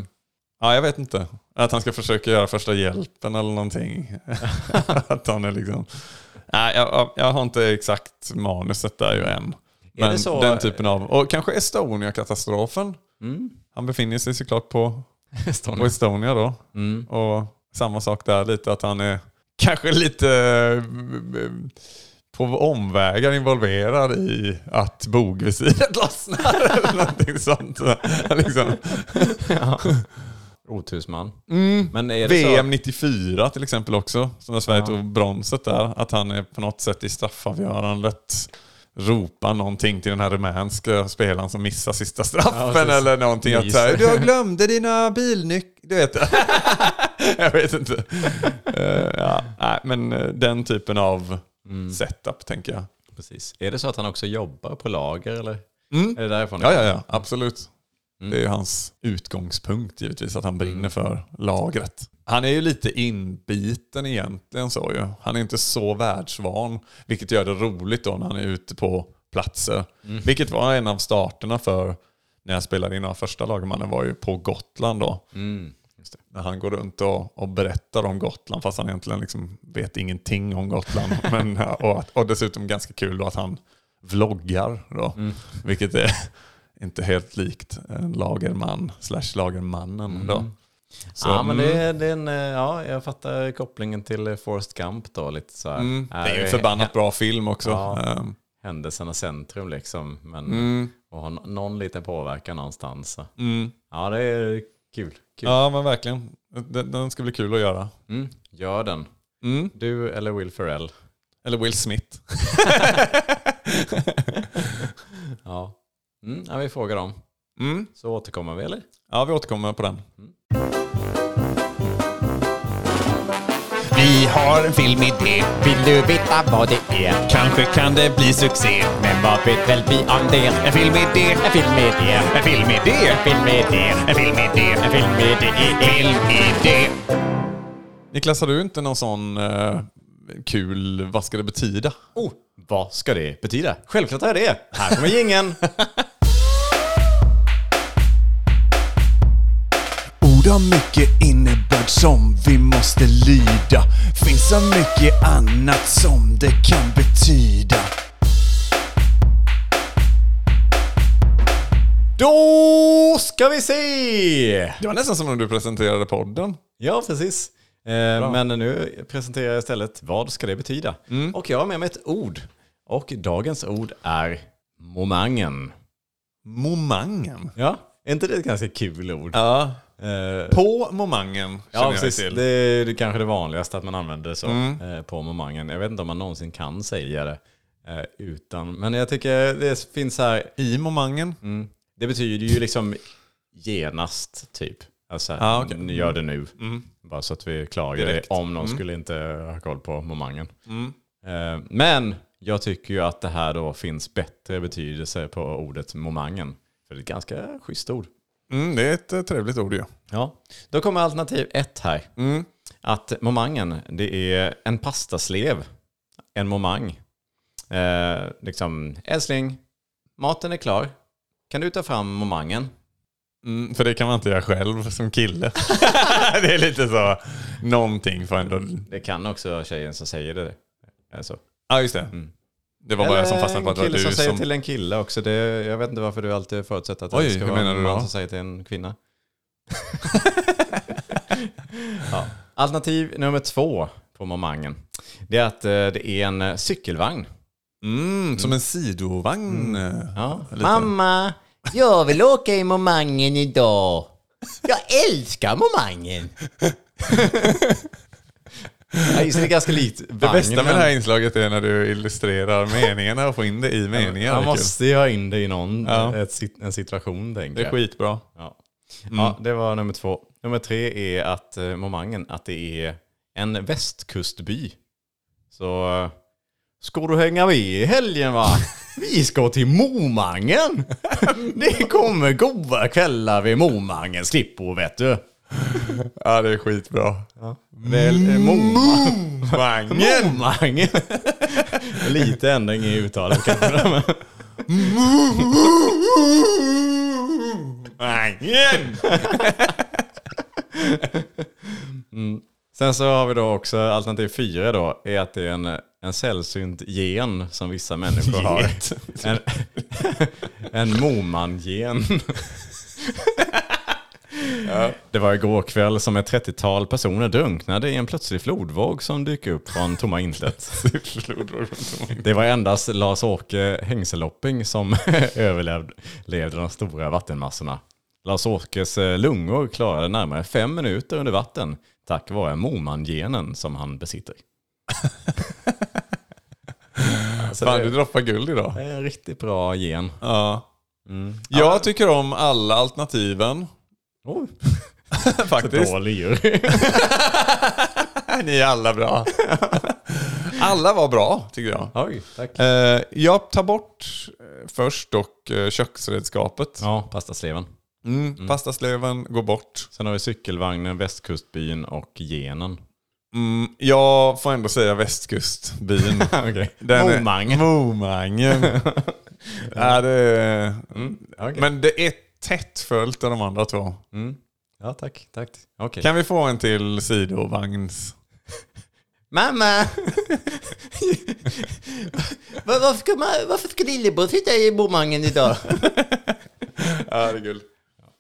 Speaker 3: ja, jag vet inte. Att han ska försöka göra första hjälpen eller någonting. att han är liksom... Nej, jag- jag, jag har inte exakt manuset där ju än. Men
Speaker 4: det så-
Speaker 3: den typen av... Och kanske Estonia-katastrofen.
Speaker 4: Mm.
Speaker 3: Han befinner sig såklart på, på
Speaker 4: Stånd.
Speaker 3: Estonia då.
Speaker 4: Mm.
Speaker 3: Och samma sak där lite att han är kanske lite eh, på omvägar involverad i att bogvisiret lossnar eller någonting sånt. liksom.
Speaker 4: Otursman. Men är det
Speaker 3: VM
Speaker 4: så?
Speaker 3: 94 till exempel också, som när Sverige tog bronset där. Att han är på något sätt i straffavgörandet ropar någonting till den här rumänska spelaren som missar sista
Speaker 4: Ja,
Speaker 3: straffen
Speaker 4: precis.
Speaker 3: eller någonting. Att så här,
Speaker 4: Nyser.
Speaker 3: du glömde dina bilnycklar, du vet. Jag vet inte. Eh, ja, nej, men eh, den typen av
Speaker 4: Mm.
Speaker 3: setup tänker jag.
Speaker 4: Precis. Är det så att han också jobbar på lager eller? Är det därifrån?
Speaker 3: Ja, ja, ja, absolut. Det är ju hans utgångspunkt givetvis, att han brinner för lagret. Han är ju lite inbiten egentligen så ju. Han är inte så världsvan, vilket gör det roligt då när han är ute på platser. Vilket var en av starterna för när jag spelade in av första lagmannen var ju på Gotland då. När han går runt och, och berättar om Gotland fast han egentligen liksom vet ingenting om Gotland. Men, ja, och, att, och dessutom ganska kul då att han vloggar då.
Speaker 4: Mm.
Speaker 3: Vilket är inte helt likt en lagerman slash lagermannen då. Så,
Speaker 4: Mm. ja, men
Speaker 3: mm,
Speaker 4: det, är- det är en, eh, ja, jag fattar kopplingen till eh, Forrest Gump då lite så här.
Speaker 3: mm, det är ju
Speaker 4: Här
Speaker 3: en
Speaker 4: är
Speaker 3: förbannat bra film också.
Speaker 4: Ja.
Speaker 3: Ehm,
Speaker 4: Händelsernas centrum liksom. Men,
Speaker 3: Mm,
Speaker 4: Och har nå- någon liten påverkan någonstans. Så.
Speaker 3: mm.
Speaker 4: Ja, det är kul. kul.
Speaker 3: Ja men verkligen. Den, den ska bli kul att göra.
Speaker 4: Mm. Gör den.
Speaker 3: Mm.
Speaker 4: Du eller Will Ferrell.
Speaker 3: Eller Will Smith.
Speaker 4: Ja. Mm, ja, vi frågar dem.
Speaker 3: Mm.
Speaker 4: Så återkommer vi eller?
Speaker 3: Ja vi återkommer på den.
Speaker 5: Vi har en filmidé. Vill du veta vad det är? Kanske kan det bli succé. Men vad vet väl vi om det? En filmidé, en filmidé, en filmidé, en filmidé, en filmidé, en filmidé, en filmidé.
Speaker 3: Niklas, har du inte någon sån eh, kul, vad ska det betyda?
Speaker 4: Oh, vad ska det betyda? Självklart är det. Här kommer gingen.
Speaker 2: Ord har mycket innebörd som vi måste lyda. Finns så mycket annat som det kan betyda.
Speaker 4: Då ska vi se!
Speaker 3: Det var nästan som när du presenterade podden.
Speaker 4: Ja, precis. Eh, men nu presenterar jag istället vad ska det betyda?
Speaker 3: Mm.
Speaker 4: Och jag har med mig ett ord. Och dagens ord är momangen.
Speaker 3: Momangen.
Speaker 4: Ja, är inte det ett ganska kul ord?
Speaker 3: Ja.
Speaker 4: Eh,
Speaker 3: På momangen
Speaker 4: Ja,
Speaker 3: känner jag
Speaker 4: precis.
Speaker 3: till. Mm.
Speaker 4: Det är det kanske det vanligaste att man använder så eh, på momangen. Jag vet inte om man någonsin kan säga det eh, utan. Men jag tycker det finns här.
Speaker 3: I momangen.
Speaker 4: Det betyder ju liksom genast typ. Alltså,
Speaker 3: Ja, Ah, okej. Mm.
Speaker 4: ni gör det nu. Bara så att vi klarar det
Speaker 3: Direkt. Mm.
Speaker 4: om någon skulle inte ha koll på momangen. Eh, men jag tycker ju att det här då finns bättre betydelse på ordet momangen. För det är ett ganska schysst ord.
Speaker 3: Mm, det är ett eh, trevligt ord ju.
Speaker 4: Ja. Då kommer alternativ ett här.
Speaker 3: Mm.
Speaker 4: Att momangen, det är en pastaslev. En momang. Eh, liksom, älskling, maten är klar. Kan du ta fram momangen?
Speaker 3: Mm, för det kan man inte göra själv som kille. det är lite så, någonting får ändå...
Speaker 4: Det kan också tjejen som säger det. Alltså.
Speaker 3: Ja, just det. Det var bara jag som fastnade på att det
Speaker 4: en
Speaker 3: var
Speaker 4: kille
Speaker 3: du
Speaker 4: som
Speaker 3: som...
Speaker 4: säger till en kille också. Det, jag vet inte varför du alltid förutsätter att
Speaker 3: Oj,
Speaker 4: det ska
Speaker 3: hur
Speaker 4: vara
Speaker 3: menar
Speaker 4: en
Speaker 3: du
Speaker 4: man
Speaker 3: då?
Speaker 4: som säger till en kvinna. ja. Alternativ nummer två på momangen. Det är att eh, det är en eh, cykelvagn.
Speaker 3: Mm, som en sidovagn.
Speaker 4: Mm. Ja.
Speaker 3: Lite.
Speaker 5: Mamma, jag vill åka i momangen idag. Jag älskar momangen.
Speaker 4: Ja, just det, det är ganska likt vagnen.
Speaker 3: Det bästa med det här inslaget är när du illustrerar meningarna och får in det i meningar.
Speaker 4: Man
Speaker 3: Det är kul.
Speaker 4: måste ju ha in det i någon,
Speaker 3: Ja.
Speaker 4: ett, sit- en situation tänker
Speaker 3: Det är
Speaker 4: jag.
Speaker 3: skitbra.
Speaker 4: Ja.
Speaker 3: Mm.
Speaker 4: ja, det var nummer två. Nummer tre är att eh, momangen, att det är en västkustby. Så eh, ska du hänga med i helgen va? Vi ska till Momangen! Det kommer goda kvällar vid Momangens klippor vet du.
Speaker 3: Ja, det är skitbra.
Speaker 4: Det är eh, Moma-
Speaker 3: Momangen!
Speaker 4: Momangen! Lite ändring i uttalet kanske. men-
Speaker 3: Momangen!
Speaker 4: Sen så har vi då också alternativ fyra då, är att det är en, en sällsynt gen som vissa människor har. En, en moman-gen. Det var igår kväll som ett 30-tal personer drunknade i en plötslig flodvåg som dök upp från tomma intet. Det var endast Lars-Åke Hängselopping som överlevde de stora vattenmassorna. Lars-Åkes eh, lungor klarade närmare fem minuter under vatten tack vare Moman-genen som han besitter. alltså,
Speaker 3: Fan,
Speaker 4: det
Speaker 3: du
Speaker 4: är-
Speaker 3: droppar guld idag.
Speaker 4: det är en riktigt bra gen.
Speaker 3: Ja.
Speaker 4: Mm.
Speaker 3: Jag tycker om alla alternativen.
Speaker 4: Oh,
Speaker 3: Faktiskt.
Speaker 4: dålig jury.
Speaker 3: Ni är alla bra. alla var bra, tycker jag.
Speaker 4: Oj, tack.
Speaker 3: Eh, Jag tar bort eh, först dock eh, köksredskapet.
Speaker 4: Ja, pastasleven.
Speaker 3: Mm. Pastasleven går bort.
Speaker 4: Sen har vi cykelvagnen, västkustbyn och genen.
Speaker 3: Mm, jag får ändå säga västkustbyn.
Speaker 4: Mm, Okej.
Speaker 3: Den är-
Speaker 4: Momangen.
Speaker 3: Momangen. ja, det är... mm.
Speaker 4: Mm, Okej. Mm.
Speaker 3: Men det är tätt följt av de andra två.
Speaker 4: Ja, tack. tack. Okej.
Speaker 3: Kan vi få en till sidovagns?
Speaker 5: Mamma! Var- varför, ska man, varför ska lillebror sitta i momangen idag?
Speaker 3: Herregud.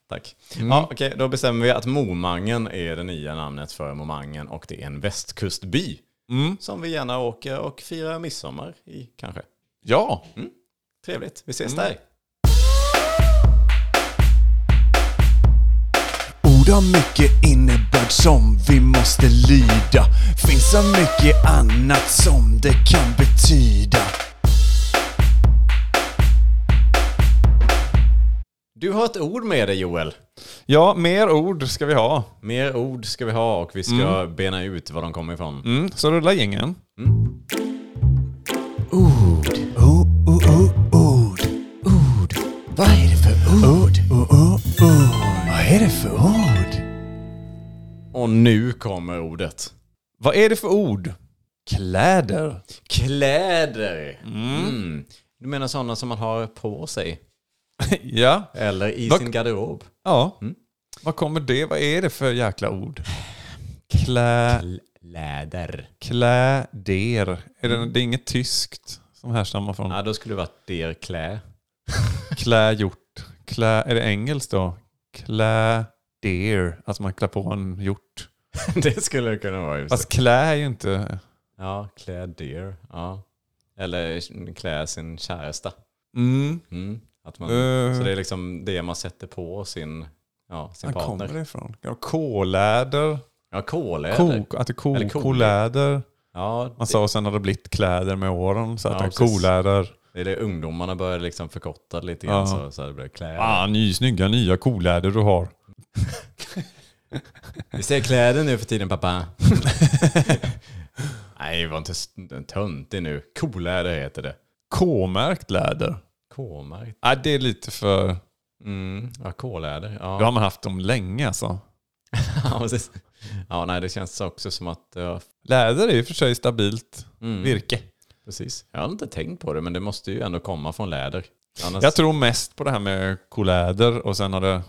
Speaker 4: Tack.
Speaker 3: Mm.
Speaker 4: Ja, okej, då bestämmer vi att Momangen är det nya namnet för Momangen och det är en västkustby.
Speaker 3: Mm.
Speaker 4: Som vi gärna åker och firar midsommar i kanske. Mm.
Speaker 3: Ja. Mm.
Speaker 4: Trevligt, vi ses där.
Speaker 2: Ord har mycket innebörd som vi måste lyda. Finns så mycket annat som det kan betyda.
Speaker 4: Du har ett ord med dig Joel.
Speaker 3: ja, mer ord ska vi ha.
Speaker 4: Mer ord ska vi ha och vi ska bena ut var de kommer ifrån.
Speaker 3: Mm, så rulla gängen.
Speaker 2: Oh, oh, oh, ord. Ord. Vad är det för ord? Oh, oh, ord. Vad är det för ord?
Speaker 4: Och nu kommer ordet.
Speaker 3: Vad är det för ord? Kläder.
Speaker 4: Kläder. Mm. Du menar sådana som man har på sig?
Speaker 3: ja.
Speaker 4: Eller i
Speaker 3: Vad-
Speaker 4: sin garderob?
Speaker 3: ja.
Speaker 4: Mm.
Speaker 3: Vad kommer det? Vad är det för jäkla ord? Klä...
Speaker 4: Läder.
Speaker 3: Kläder. Är det, det är inget tyskt som härstammar från
Speaker 4: Ja, då skulle det varit der klä.
Speaker 3: klä hjort. Klä, är det engelskt då? Klä deer. Alltså man klär på en hjort.
Speaker 4: det skulle det kunna vara. i och för sig.
Speaker 3: Fast klä är ju inte...
Speaker 4: Ja, klä dear. Ja. Eller klä sin käresta.
Speaker 3: Mm.
Speaker 4: Mm. Att man,
Speaker 3: Eh.
Speaker 4: Så det är liksom det man sätter på sin, ja, sin
Speaker 3: Var kommer
Speaker 4: partner.
Speaker 3: det ifrån? K-läder.
Speaker 4: Ja, koläder.
Speaker 3: Ko, att det är ko,
Speaker 4: Eller ko-
Speaker 3: koläder.
Speaker 4: Ja,
Speaker 3: Man sa och sen har det blivit kläder med åren. Så att
Speaker 4: Ja,
Speaker 3: det är
Speaker 4: precis.
Speaker 3: koläder.
Speaker 4: det är det ungdomarna börjar liksom förkorta lite grann
Speaker 3: Ja.
Speaker 4: så, så det blir kläder.
Speaker 3: Ah, ny, snygga nya koläder du har.
Speaker 4: Vi ser kläder nu för tiden pappa. Nej, var inte s- töntig nu. Koläder heter det.
Speaker 3: K-märkt läder.
Speaker 4: K-märkt.
Speaker 3: Ah, det är lite för...
Speaker 4: Mm, ja, koläder. Ja.
Speaker 3: Då har man haft dem länge alltså.
Speaker 4: Ja, precis. Ja, nej, det känns också som att... Ja,
Speaker 3: Läder är i och för sig stabilt
Speaker 4: Mm.
Speaker 3: virke.
Speaker 4: precis. Jag har inte tänkt på det, men det måste ju ändå komma från läder. Annars,
Speaker 3: Jag tror mest på det här med koläder och sen har det...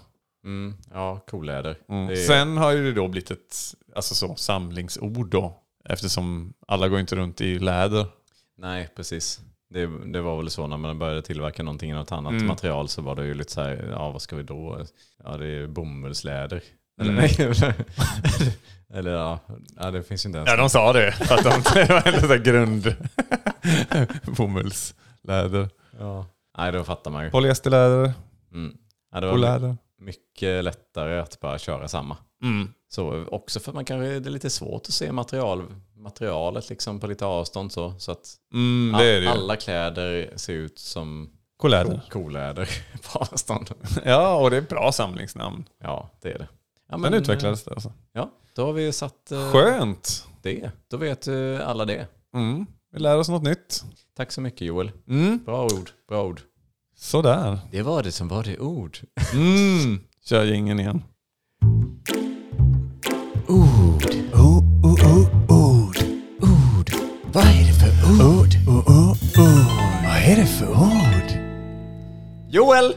Speaker 4: mm, ja, koläder.
Speaker 3: Mm.
Speaker 4: Det är-
Speaker 3: Sen har ju det då blivit ett alltså så, samlingsord då. Eftersom alla går inte runt i läder.
Speaker 4: Nej, precis. Det, det var väl så när man började tillverka någonting i något annat
Speaker 3: Mm.
Speaker 4: material så var det ju lite så här, ja vad ska vi då? Ja det är bomullsläder.
Speaker 3: Mm.
Speaker 4: Eller nej, eller- eller ja, ja, det finns ju inte ens.
Speaker 3: Ja, de sa det. För att de, det var ändå så här grund... Bomullsläder.
Speaker 4: Ja. Nej, då fattar man ju.
Speaker 3: Polyesterläder.
Speaker 4: Mm. Ja, det var
Speaker 3: Koläder.
Speaker 4: mycket lättare att bara köra samma.
Speaker 3: Mm.
Speaker 4: Så också för att man kanske, det är lite svårt att se material, materialet liksom på lite avstånd så. Så att
Speaker 3: Mm, det är det ju.
Speaker 4: alla kläder ser ut som
Speaker 3: Koläder.
Speaker 4: koläder på avstånd.
Speaker 3: Ja, och det är ett bra samlingsnamn.
Speaker 4: Ja, det är det. Ja,
Speaker 3: Den utvecklades det alltså.
Speaker 4: Ja, då har vi satt eh,
Speaker 3: Skönt.
Speaker 4: det. Då vet eh, alla det.
Speaker 3: Mm. Vi lär oss något nytt.
Speaker 4: Tack så mycket Joel.
Speaker 3: Mm.
Speaker 4: Bra ord, bra ord.
Speaker 3: Sådär.
Speaker 4: Det var det som var det ord.
Speaker 3: Mm. Kör ingen igen.
Speaker 4: Joel!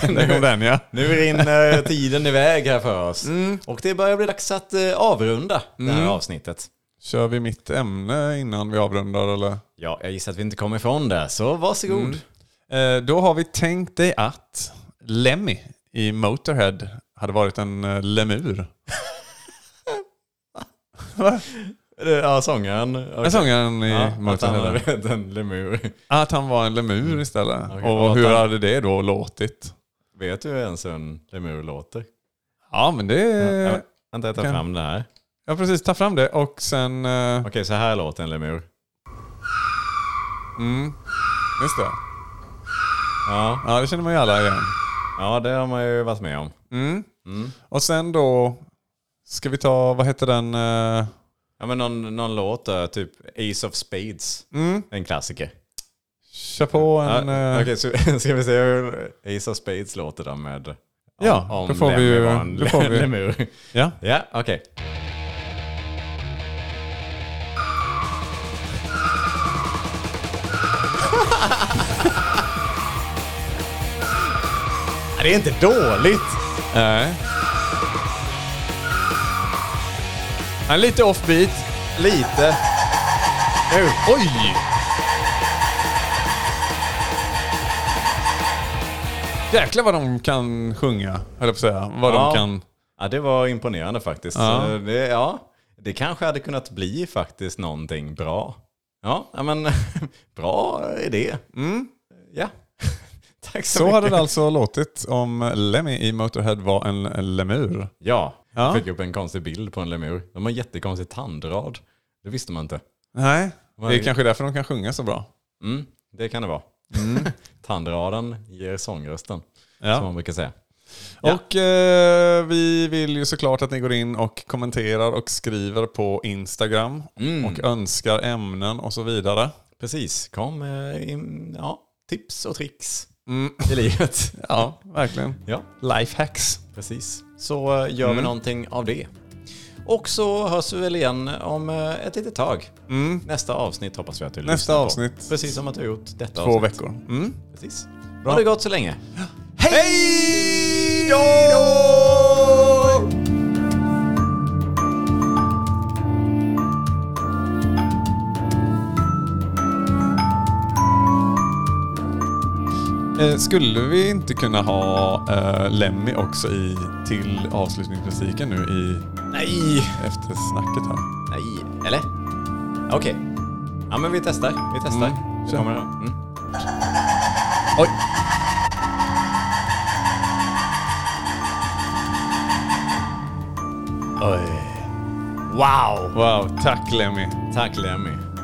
Speaker 3: Där kom den ja.
Speaker 4: Nu rinner tiden iväg här för oss. Och det börjar bli dags att eh, avrunda det här avsnittet.
Speaker 3: Kör vi mitt ämne innan vi avrundar eller?
Speaker 4: Ja, jag gissar att vi inte kommer ifrån det, så varsågod.
Speaker 3: Eh, då har vi tänkt dig att Lemmy i Motorhead hade varit en eh, lemur.
Speaker 4: Eh, Ja, sångaren. Okay.
Speaker 3: Jag såg en i
Speaker 4: Ja, att han
Speaker 3: Motorhead.
Speaker 4: hade
Speaker 3: Att
Speaker 4: varit en lemur.
Speaker 3: han, var en lemur istället.
Speaker 4: Okej, och
Speaker 3: Och
Speaker 4: att
Speaker 3: hur
Speaker 4: han-
Speaker 3: hade det då låtit?
Speaker 4: Vet du ens hur en lemur låter?
Speaker 3: Ja men det...
Speaker 4: Ja, Vänta, jag tar
Speaker 3: kan-
Speaker 4: fram det här.
Speaker 3: Ja precis, ta fram det och sen... eh,
Speaker 4: Okej, så här låter en lemur.
Speaker 3: Just det.
Speaker 4: Ja,
Speaker 3: Ja det känner man ju alla igen.
Speaker 4: ja, det har man ju varit med om.
Speaker 3: Och sen då... Ska vi ta, vad heter den? eh,
Speaker 4: Ja men någon, någon låt där, typ Ace of Spades. En klassiker.
Speaker 3: Kör på en...
Speaker 4: Ja,
Speaker 3: Mm. eh,
Speaker 4: Okej, så ska vi se hur Ace of Spades låter då med...
Speaker 3: Ja, då får vi
Speaker 4: Lemmy
Speaker 3: ju-
Speaker 4: var en
Speaker 3: då får vi-
Speaker 4: lemur.
Speaker 3: Ja.
Speaker 4: Ja, okej. Det är inte dåligt!
Speaker 3: Nej. Han är lite offbeat.
Speaker 4: Lite. Nu.
Speaker 3: Oj! Jäklar vad de kan sjunga, höll jag på att säga. Vad
Speaker 4: Ja.
Speaker 3: de kan...
Speaker 4: Ja, det var imponerande faktiskt.
Speaker 3: Ja.
Speaker 4: Så Det, ja, det kanske hade kunnat bli faktiskt någonting bra. Ja, ja, men bra idé. Mm. Ja, tack så,
Speaker 3: Så
Speaker 4: mycket.
Speaker 3: hade det alltså låtit om Lemmy i Motorhead var en lemur.
Speaker 4: Ja, jag
Speaker 3: Ja.
Speaker 4: fick upp en konstig bild på en lemur. De har en jättekonstig tandrad. Det visste man inte.
Speaker 3: Nej, det är
Speaker 4: Vad-
Speaker 3: kanske därför de kan sjunga så bra.
Speaker 4: Mm, det kan det vara. Tandraden ger sångrösten,
Speaker 3: Mm. Ja.
Speaker 4: som man brukar säga.
Speaker 3: Och eh, vi vill ju såklart att ni går in och kommenterar och skriver på Instagram. Och önskar ämnen och så vidare.
Speaker 4: Precis, kom eh, in, ja, tips och tricks i livet.
Speaker 3: Mm. Ja, Mm. verkligen.
Speaker 4: Ja.
Speaker 3: Lifehacks.
Speaker 4: Precis. Så eh, gör vi någonting av det. Och så hörs vi väl igen om eh, ett litet tag. Nästa avsnitt hoppas vi att du lyssnar
Speaker 3: Mm. Nästa
Speaker 4: på.
Speaker 3: avsnitt.
Speaker 4: Precis som att du har gjort detta
Speaker 3: Två
Speaker 4: avsnitt.
Speaker 3: veckor. Mm.
Speaker 4: Precis. Ha det gott så länge.
Speaker 3: Hej då! Eh, Skulle vi inte kunna ha eh, Lemmy också i, till avslutningsmusiken nu i
Speaker 4: Nej!
Speaker 3: eftersnacket här?
Speaker 4: Nej, eller? Okej. Ja, men vi testar. Vi testar.
Speaker 3: Mm.
Speaker 4: Det
Speaker 3: Kör.
Speaker 4: kommer. Mm.
Speaker 3: Oj! Oj. Wow! Wow, tack Lemmy.
Speaker 4: Tack Lemmy.